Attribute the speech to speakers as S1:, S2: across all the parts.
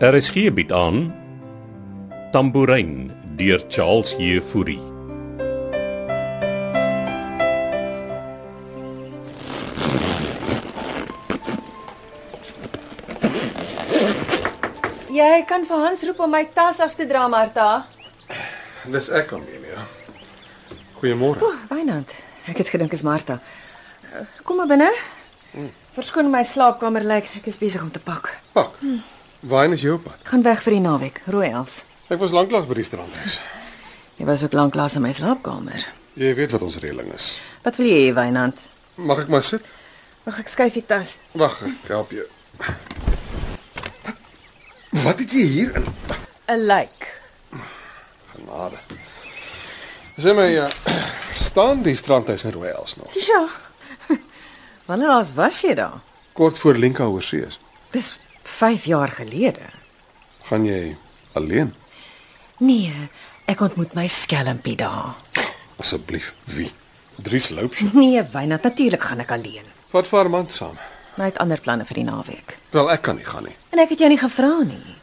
S1: RSG bied Er aan Tambourin deur Charles Jefouri.
S2: Jy kan vir Hans roep om my tas af te dra, Martha.
S3: Dis ek Amelia. Goeiemôre.
S2: Wynand, ek het gedink is Martha. Eh, Kom maar binne. Verskoon my slaapkamer lyk, ek is besig om te pak.
S3: Pak. Waarheen is jou pad?
S2: Gaan weg vir die naweek, rooi els.
S3: Ek was lanklaas by die strandhuis.
S2: Jy was ook lank lank in my slaapkamer.
S3: Jy weet wat ons reëling is.
S2: Wat wil jy hê, Wynand?
S3: Mag ek maar sit?
S2: Wag, ek skuif die tas.
S3: Wag, ek help jou. Wat wat het jy hier in?
S2: 'n Lyk.
S3: Genade. Sê my, ja, staan die strandhuis in Royals nog?
S2: Ja. Wanneer laas was jy daar?
S3: Kort voor Lenka oorsee is.
S2: Dis 5 jaar gelede.
S3: Gaan jy alleen?
S2: Nee, ek ontmoet my skelmpie daar.
S3: Asseblief, wie? Dries Loupsje.
S2: Nee, Wynand, natuurlik gaan ek alleen.
S3: Wat vir 'n man saam?
S2: Maar ek het ander planne vir die naweek.
S3: Wel, ek kan nie gaan nie.
S2: En ek het jou nie gevra nie.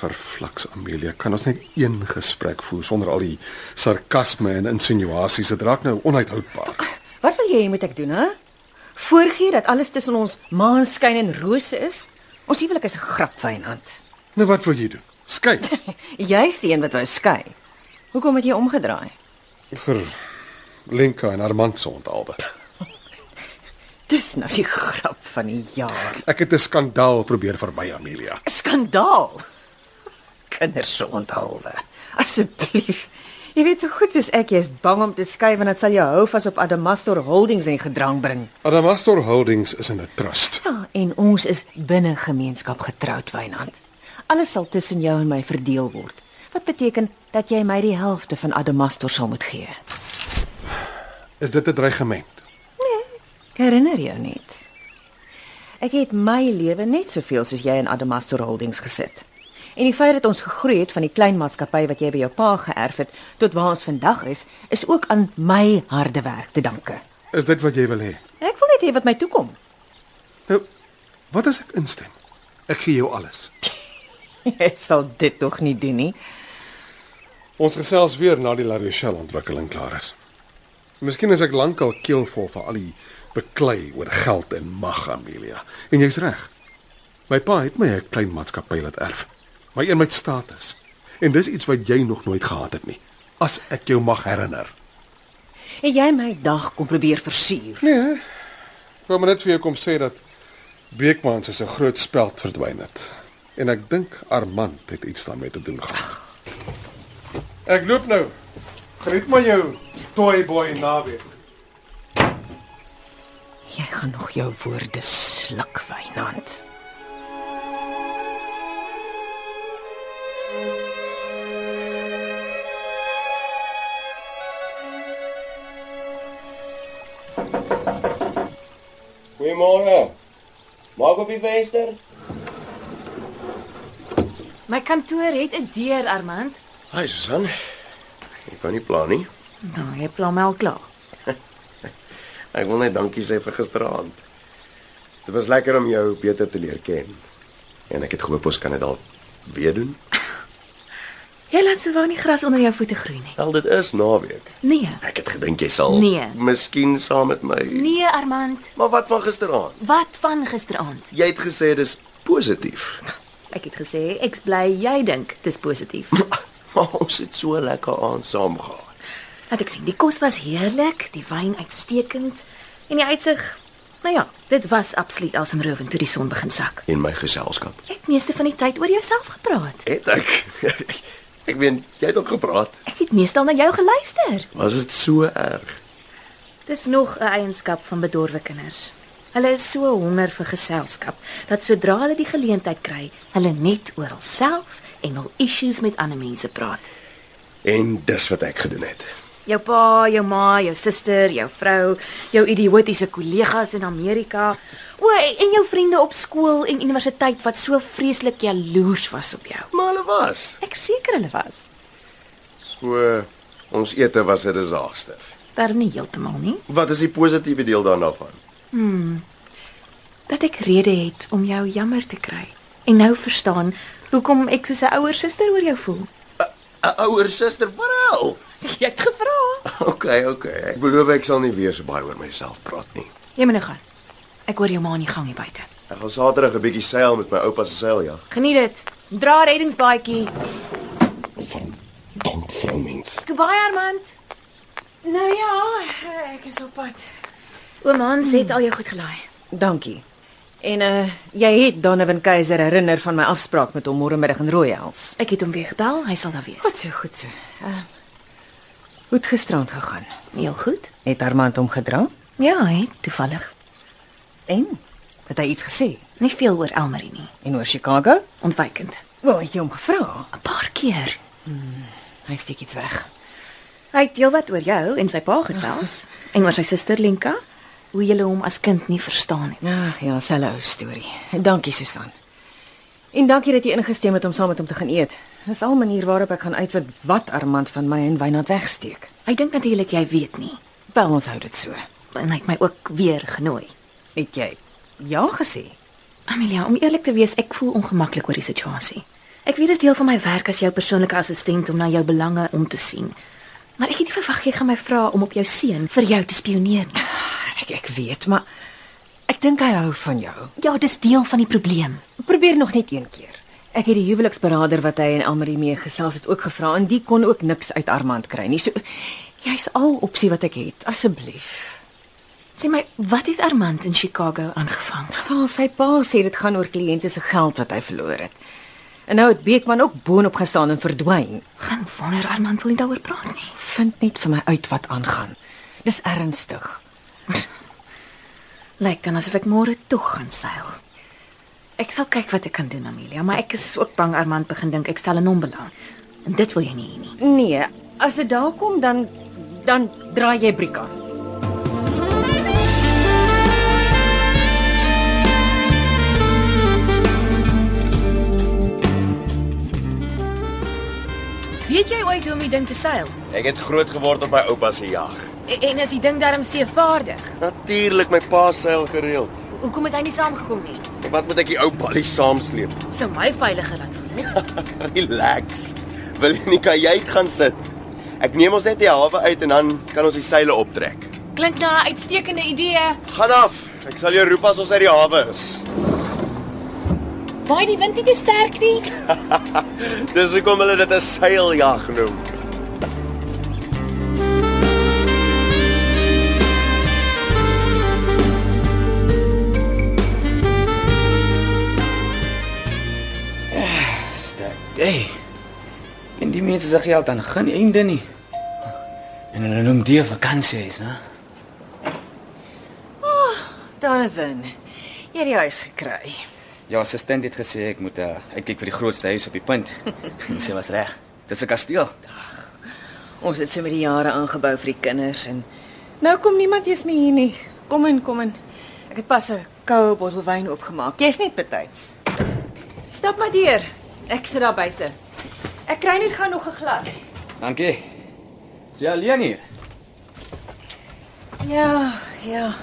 S3: Verflaks Amelia, kan ons net een gesprek voer sonder al die sarkasme en insinuasies. Dit raak nou onhoudbaar.
S2: Wat wil jy hê moet ek doen, hè? Voorgee dat alles tussen ons maanskyn en rose is? Ons huwelik is 'n grap, Wynand.
S3: Nou wat wil jy doen? Skei.
S2: Jy's die een wat wou skei. Hoekom het jy omgedraai?
S3: Vir Lenka en Armand se ontalbe.
S2: Dis nou die grap van die jaar.
S3: Ek het 'n skandaal probeer vermy Amelia.
S2: Skandaal. Kinders se onthaalwe. Asseblief. Jy weet so goed soos ek jy's bang om te skei want dit sal jou hou vas op Adamastor Holdings en gedrang bring.
S3: Adamastor Holdings is in 'n trust.
S2: Ja, en ons is binne gemeenskap getroud, Wynand. Alles sal tussen jou en my verdeel word. Wat beteken dat jy my die helfte van Adamastor sal moet gee.
S3: Is dit 'n dreigement?
S2: Ek herinner jou net. Ek het my lewe net soveel soos jy in Adamastor Holdings gesit. En die feit dat ons gegroei het van die klein maatskappy wat jy by jou pa geërf het tot waar ons vandag is, is ook aan my harde werk te danke.
S3: Is dit wat jy wil hê?
S2: Ek wil net hê wat my toekom.
S3: Nou, wat as ek instem? Ek gee jou alles.
S2: Jy sal dit tog nie doen nie.
S3: Ons gesels weer na die La Rochelle ontwikkeling klaar is. Miskien is ek lankal keelvol vir al die beklei oor geld en mag, Amelia. En jy's reg. My pa het my 'n klein maatskappy laat erf. My een met status. En dis iets wat jy nog nooit gehad het nie. As ek jou mag herinner.
S2: En jy my dag kom probeer versuur.
S3: Nee. Kom maar net vir jou kom sê dat Beekman soos 'n groot speld verdwyn het. En ek dink Armand het iets daarmee te doen gehad. Ek loop nou. Geniet maar jou toy boy naweek.
S2: Jy gaan nog jou woorde sluk, Wynand.
S4: Goeiemôre. Maak op die venster.
S5: My kantoor het 'n deur, Armand.
S4: Hi Susan. Ek wou nie plan nie.
S5: Nou, jy plan my al klaar.
S4: Ek wil net dankie sê vir gisteraand. Dit was lekker om jou beter te leer ken. En ek het gehoop ons kan dit dalk weer doen.
S5: Jy laat sowel nie gras onder jou voete groei nie.
S4: Wel, dit is naweek.
S5: Nee.
S4: Ek het gedink jy sal
S5: Nee.
S4: miskien saam met my.
S5: Nee, Armand.
S4: Maar wat van gisteraand?
S5: Wat van gisteraand?
S4: Jy het gesê dis positief.
S5: Ek het gesê ek's bly jy dink dis positief.
S4: maar ons het so lekker aand saam gehad.
S5: Laat ek sien, die kos was heerlik, die wyn uitstekend en die uitsig. Nou ja, dit was absoluut asemrowend toe die son begin sak.
S4: En my geselskap.
S5: Jy het meeste van die tyd oor jouself gepraat.
S4: Het ek Ek weet jy het ook gepraat.
S5: Ek het meestal na jou geluister.
S4: Was dit so erg?
S5: Dis nog 'n eienskap van bedorwe kinders. Hulle is so honger vir geselskap dat sodra hulle die geleentheid kry, hulle net oor hulself en hul issues met ander mense praat.
S4: En dis wat ek gedoen het.
S5: Jou pa, jou ma, jou suster, jou vrou, jou idiotiese kollegas in Amerika, o en jou vriende op skool en universiteit wat so vreeslik jaloers was op jou.
S4: Maar hulle was.
S5: Ek seker hulle was.
S4: So ons ete was 'n desaster.
S5: Daarom nie heeltemal nie
S4: Wat is die positiewe deel daarna van?
S5: dat ek rede het om jou jammer te kry en nou verstaan hoekom ek soos 'n ouer suster oor jou voel.
S4: 'n Ouer suster, wel.
S5: Jy het gevra.
S4: OK, OK. Ek beloof ek sal nie weer so baie oor myself praat nie.
S5: Jy moet nou gaan. Ek hoor jou ma in die gang hier buite.
S4: Ek gaan Saterdag 'n bietjie seil met my oupa se seiljag.
S5: Geniet dit. Dra reddingsbaadjie.
S4: Dank vrou mens.
S5: Goodbye Armand.
S2: Nou ja, ek is op pad.
S5: Oom Hans het al jou goed gelaai.
S2: Dankie. En uh jy het Donovan Keiser herinner van my afspraak met hom môre middag in Rooihels.
S5: Ek het hom weer gebel, hy sal daar wees.
S2: Goed so, goed so. Uh Hoe het gisterand gegaan?
S5: Heel goed.
S2: Het Armand hom gedra?
S5: Ja, hy, toevallig.
S2: En het hy iets gesê?
S5: Nie veel oor Elmarie nie,
S2: En oor Chicago?
S5: ontwykend.
S2: Wel, het jy hom gevra?
S5: 'n Paar keer.
S2: Hy steek iets weg.
S5: Hy het heelwat oor jou en sy pa gesels en oor sy suster Lenka, hoe jy hom as kind nie verstaan het.
S2: Ag ja, selfe ou storie. Dankie Susan. En dankie dat jy ingestem het om saam met hom te gaan eet. Dis al 'n manier waarop ek gaan uitvind wat Armand van my en Wynand wegsteek.
S5: Hy dink natuurlik jy weet nie
S2: Wel, ons hou dit so.
S5: en hy het my ook weer genooi.
S2: Het jy ja gesê?
S5: Amelia, om eerlik te wees, ek voel ongemaklik oor die situasie. Ek weet dit is deel van my werk as jou persoonlike assistent om na jou belange om te sien. Maar ek het nie verwag jy gaan my vra om op jou seun vir jou te spioneer nie.
S2: Ek ek weet, maar ek dink hy hou van jou.
S5: Ja, dis deel van die probleem.
S2: Probeer nog net een keer. Ek het die huweliksberader wat hy en Elmarie mee gesels het ook gevra en die kon ook niks uit Armand kry nie. So jy's al opsie wat ek het, asseblief.
S5: Sê my, wat het Armand in Chicago aangevang?
S2: Wel, sy pa sê dit gaan oor kliënte se geld wat hy verloor het. En nou het Beekman ook boonop gestaan en verdwyn.
S5: Gaan wonder Armand wil nie daaroor praat nie.
S2: Vind net vir my uit wat aangaan. Dis ernstig.
S5: Lyk dan asof ek môre tog gaan seil. Ek sal kyk wat ek kan doen, Amelia, maar ek is ook bang Armand begin dink ek stel in hom belang. En dit wil jy nie hê nie.
S2: Nee, as dit daar kom dan dan draai jy briek aan.
S5: Weet jy ooit hoe om die ding te seil? E-,
S4: Ek het groot geword op my oupa se jag.
S5: En as die ding darm seevaardig,
S4: Natuurlik my pa seil gereeld.
S5: hoekom het hy nie saamgekom nie?
S4: Wat moet ek die ou ballie saamsleep?
S5: Sou my veiliger laat voel het.
S4: Relax. Wil jy nie kajuit gaan sit? Ek neem ons net die hawe uit en dan kan ons die seile optrek.
S5: Klink na 'n uitstekende idee.
S4: Gaan af. Ek sal jou roep as ons uit die hawe is.
S5: Baie die wind nie te sterk nie.
S4: Dis hoekom hulle dit 'n seiljag noem.
S6: Sterk. Hey. En die mense se geld aan geen einde nie. En hulle noem dit 'n vakansie, né?
S2: Donovan, jy het die huis gekry.
S6: Jou assistent het gesê ek moet uh, uitkyk vir die grootste huis op die punt. en sy was reg. Dis 'n kasteel.
S2: Ons het so met die jare aangebou vir die kinders en nou kom niemand eers meer hier nie. Kom in, kom in. Ek het pas 'n koue bottel wyn oopgemaak. Jy's net betyds. Stap maar deur. Ek sit daar buite. Ek kry net gou nog 'n glas.
S6: Dankie. Is jy alleen hier?
S2: Ja, ja.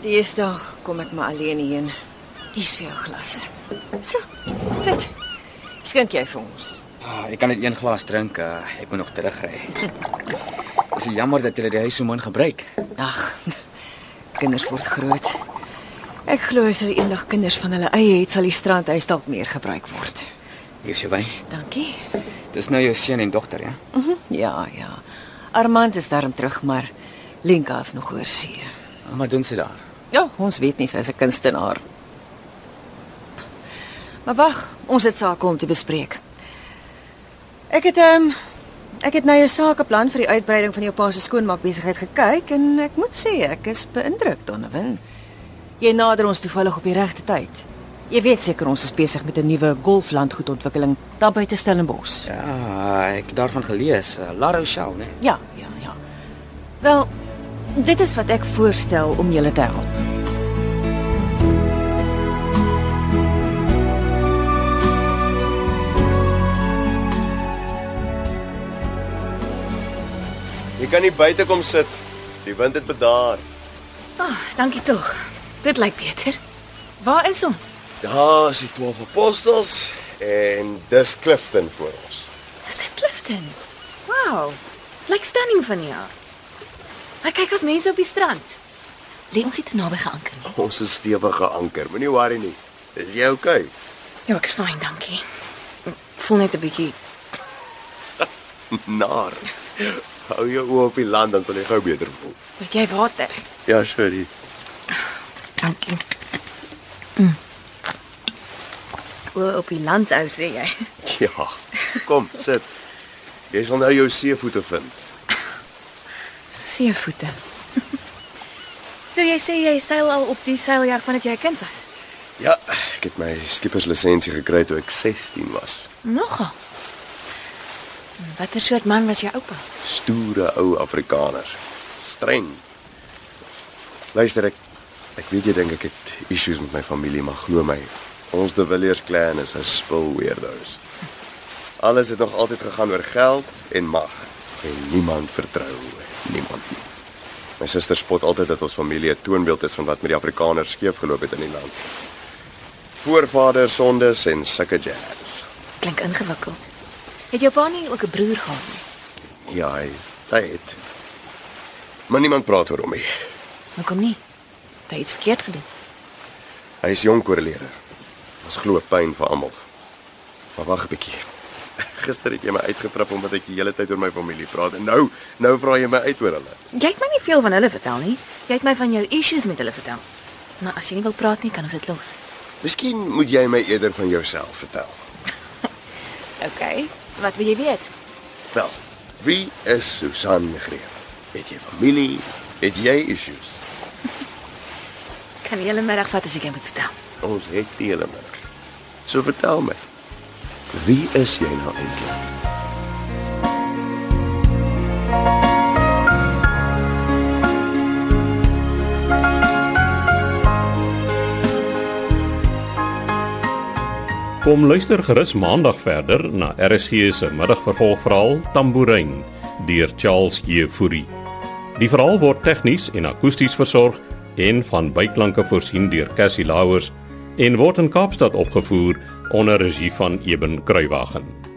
S2: Dinsdag kom ek maar alleen hierheen. Dis vir jou glas. So, sit. Skink jy vir ons?
S6: Ah, ek kan net een glas drink. Uh, ek moet nog terugry. Dis jammer dat jy die huis so min gebruik.
S2: Ag. Kinders word groot. Ek glo as hulle eendag kinders van hulle eie het, sal die strandhuis dalk meer gebruik word.
S6: Hier's jou wyn.
S2: Dankie.
S6: Dis nou jou seun en dogter, ja?
S2: Mm -hmm. Ja, ja. Armand is daarom terug, maar Lenka is nog oor see.
S6: Ah, maar doen sy daar.
S2: Ja, ons weet nie sy's 'n kunstenaar. Maar wag, ons het sake om te bespreek. Ek het ehm um, ek het na jou sakeplan vir die uitbreiding van jou pa se skoonmaakbesigheid gekyk en ek moet sê ek is beïndruk, Donovan. Jy nader ons toevallig op die regte tyd. Jy weet seker ons is besig met 'n nuwe golflandgoedontwikkeling daar buite Stellenbosch.
S6: Ja, ek het daarvan gelees. Uh, La Rochelle, né?
S2: Ja, ja, ja. Wel, dit is wat ek voorstel om julle te help.
S4: Jy kan nie buite kom sit. Die wind het bedaar.
S5: Ah, dankie tog. Dit lyk beter. Waar is ons?
S4: Daar is die 12 apostels En dis Clifton voor ons.
S5: Is dit Clifton? Wow. Lyk stunning van jou. Hy kyk as mense op die strand. Lê ons nie te naby geanker nie.
S4: Ons is stewig geanker. Moenie worry nie. Is jy okay?
S5: Ja, ek's fyn, dankie. Ek voel net 'n bietjie
S4: Nar. Hou jou oë op die land dan sal jy gou beter voel.
S5: dat jy water.
S4: Ja, sorry.
S5: Dankie. Mm. O, op die land ou sê jy.
S4: Ja. Kom, sit. Jy sal nou jou seevoete vind.
S5: Seevoete. so jy sê jy seil al op die seiljag vandat jy 'n kind was.
S4: Ja, ek het my skipperslisensie gekry toe ek 16 was.
S5: Nogal. Watter soort man was jou oupa?
S4: Stoere ou Afrikaner. Streng. Luister ek ek weet jy dink ek het issues met my familie, maar glo my, ons De Villiers clan is 'n spul weirdos. Alles het nog altyd gegaan oor geld en mag. En niemand vertrou niemand nie. My suster spot altyd dat ons familie 'n toonbeeld is van wat met die Afrikaners skeef geloop het in die land. Voorvader sondes en sulke jazz.
S5: Klink ingewikkeld. Het jou pa nie ook 'n broer gehad nie?
S4: Ja, hy, hy het. Maar niemand praat oor hom nie.
S5: Hoekom nie? Het hy iets verkeerd gedoen?
S4: Hy is jong korreleerder. Ons glo pyn vir almal. Maar wag 'n bietjie. Gister het jy my uitgetrap omdat ek die hele tyd oor my familie praat en nou nou vra jy my uit oor hulle.
S5: Jy het my nie veel van hulle vertel nie. Jy het my van jou issues met hulle vertel. Maar as jy nie wil praat nie, kan ons dit los.
S4: Miskien moet jy my eerder van jouself vertel.
S5: OK. Wat wil jy weet?
S4: Wel, wie is Susan Greer? Het jy familie? Het jy issues?
S5: Kan die hele middag vat as ek jou moet vertel.
S4: Ons het die hele middag. So vertel my. Wie is jy nou eintlik?
S1: Kom luister gerus maandag verder na RSG se middagvervolgverhaal Tambourine deur Charles Jefouri. Die verhaal word tegnies en akoesties versorg en van byklanke voorsien deur Cassie Lauers en word in Kaapstad opgevoer onder regie van Eben Kruiwagen.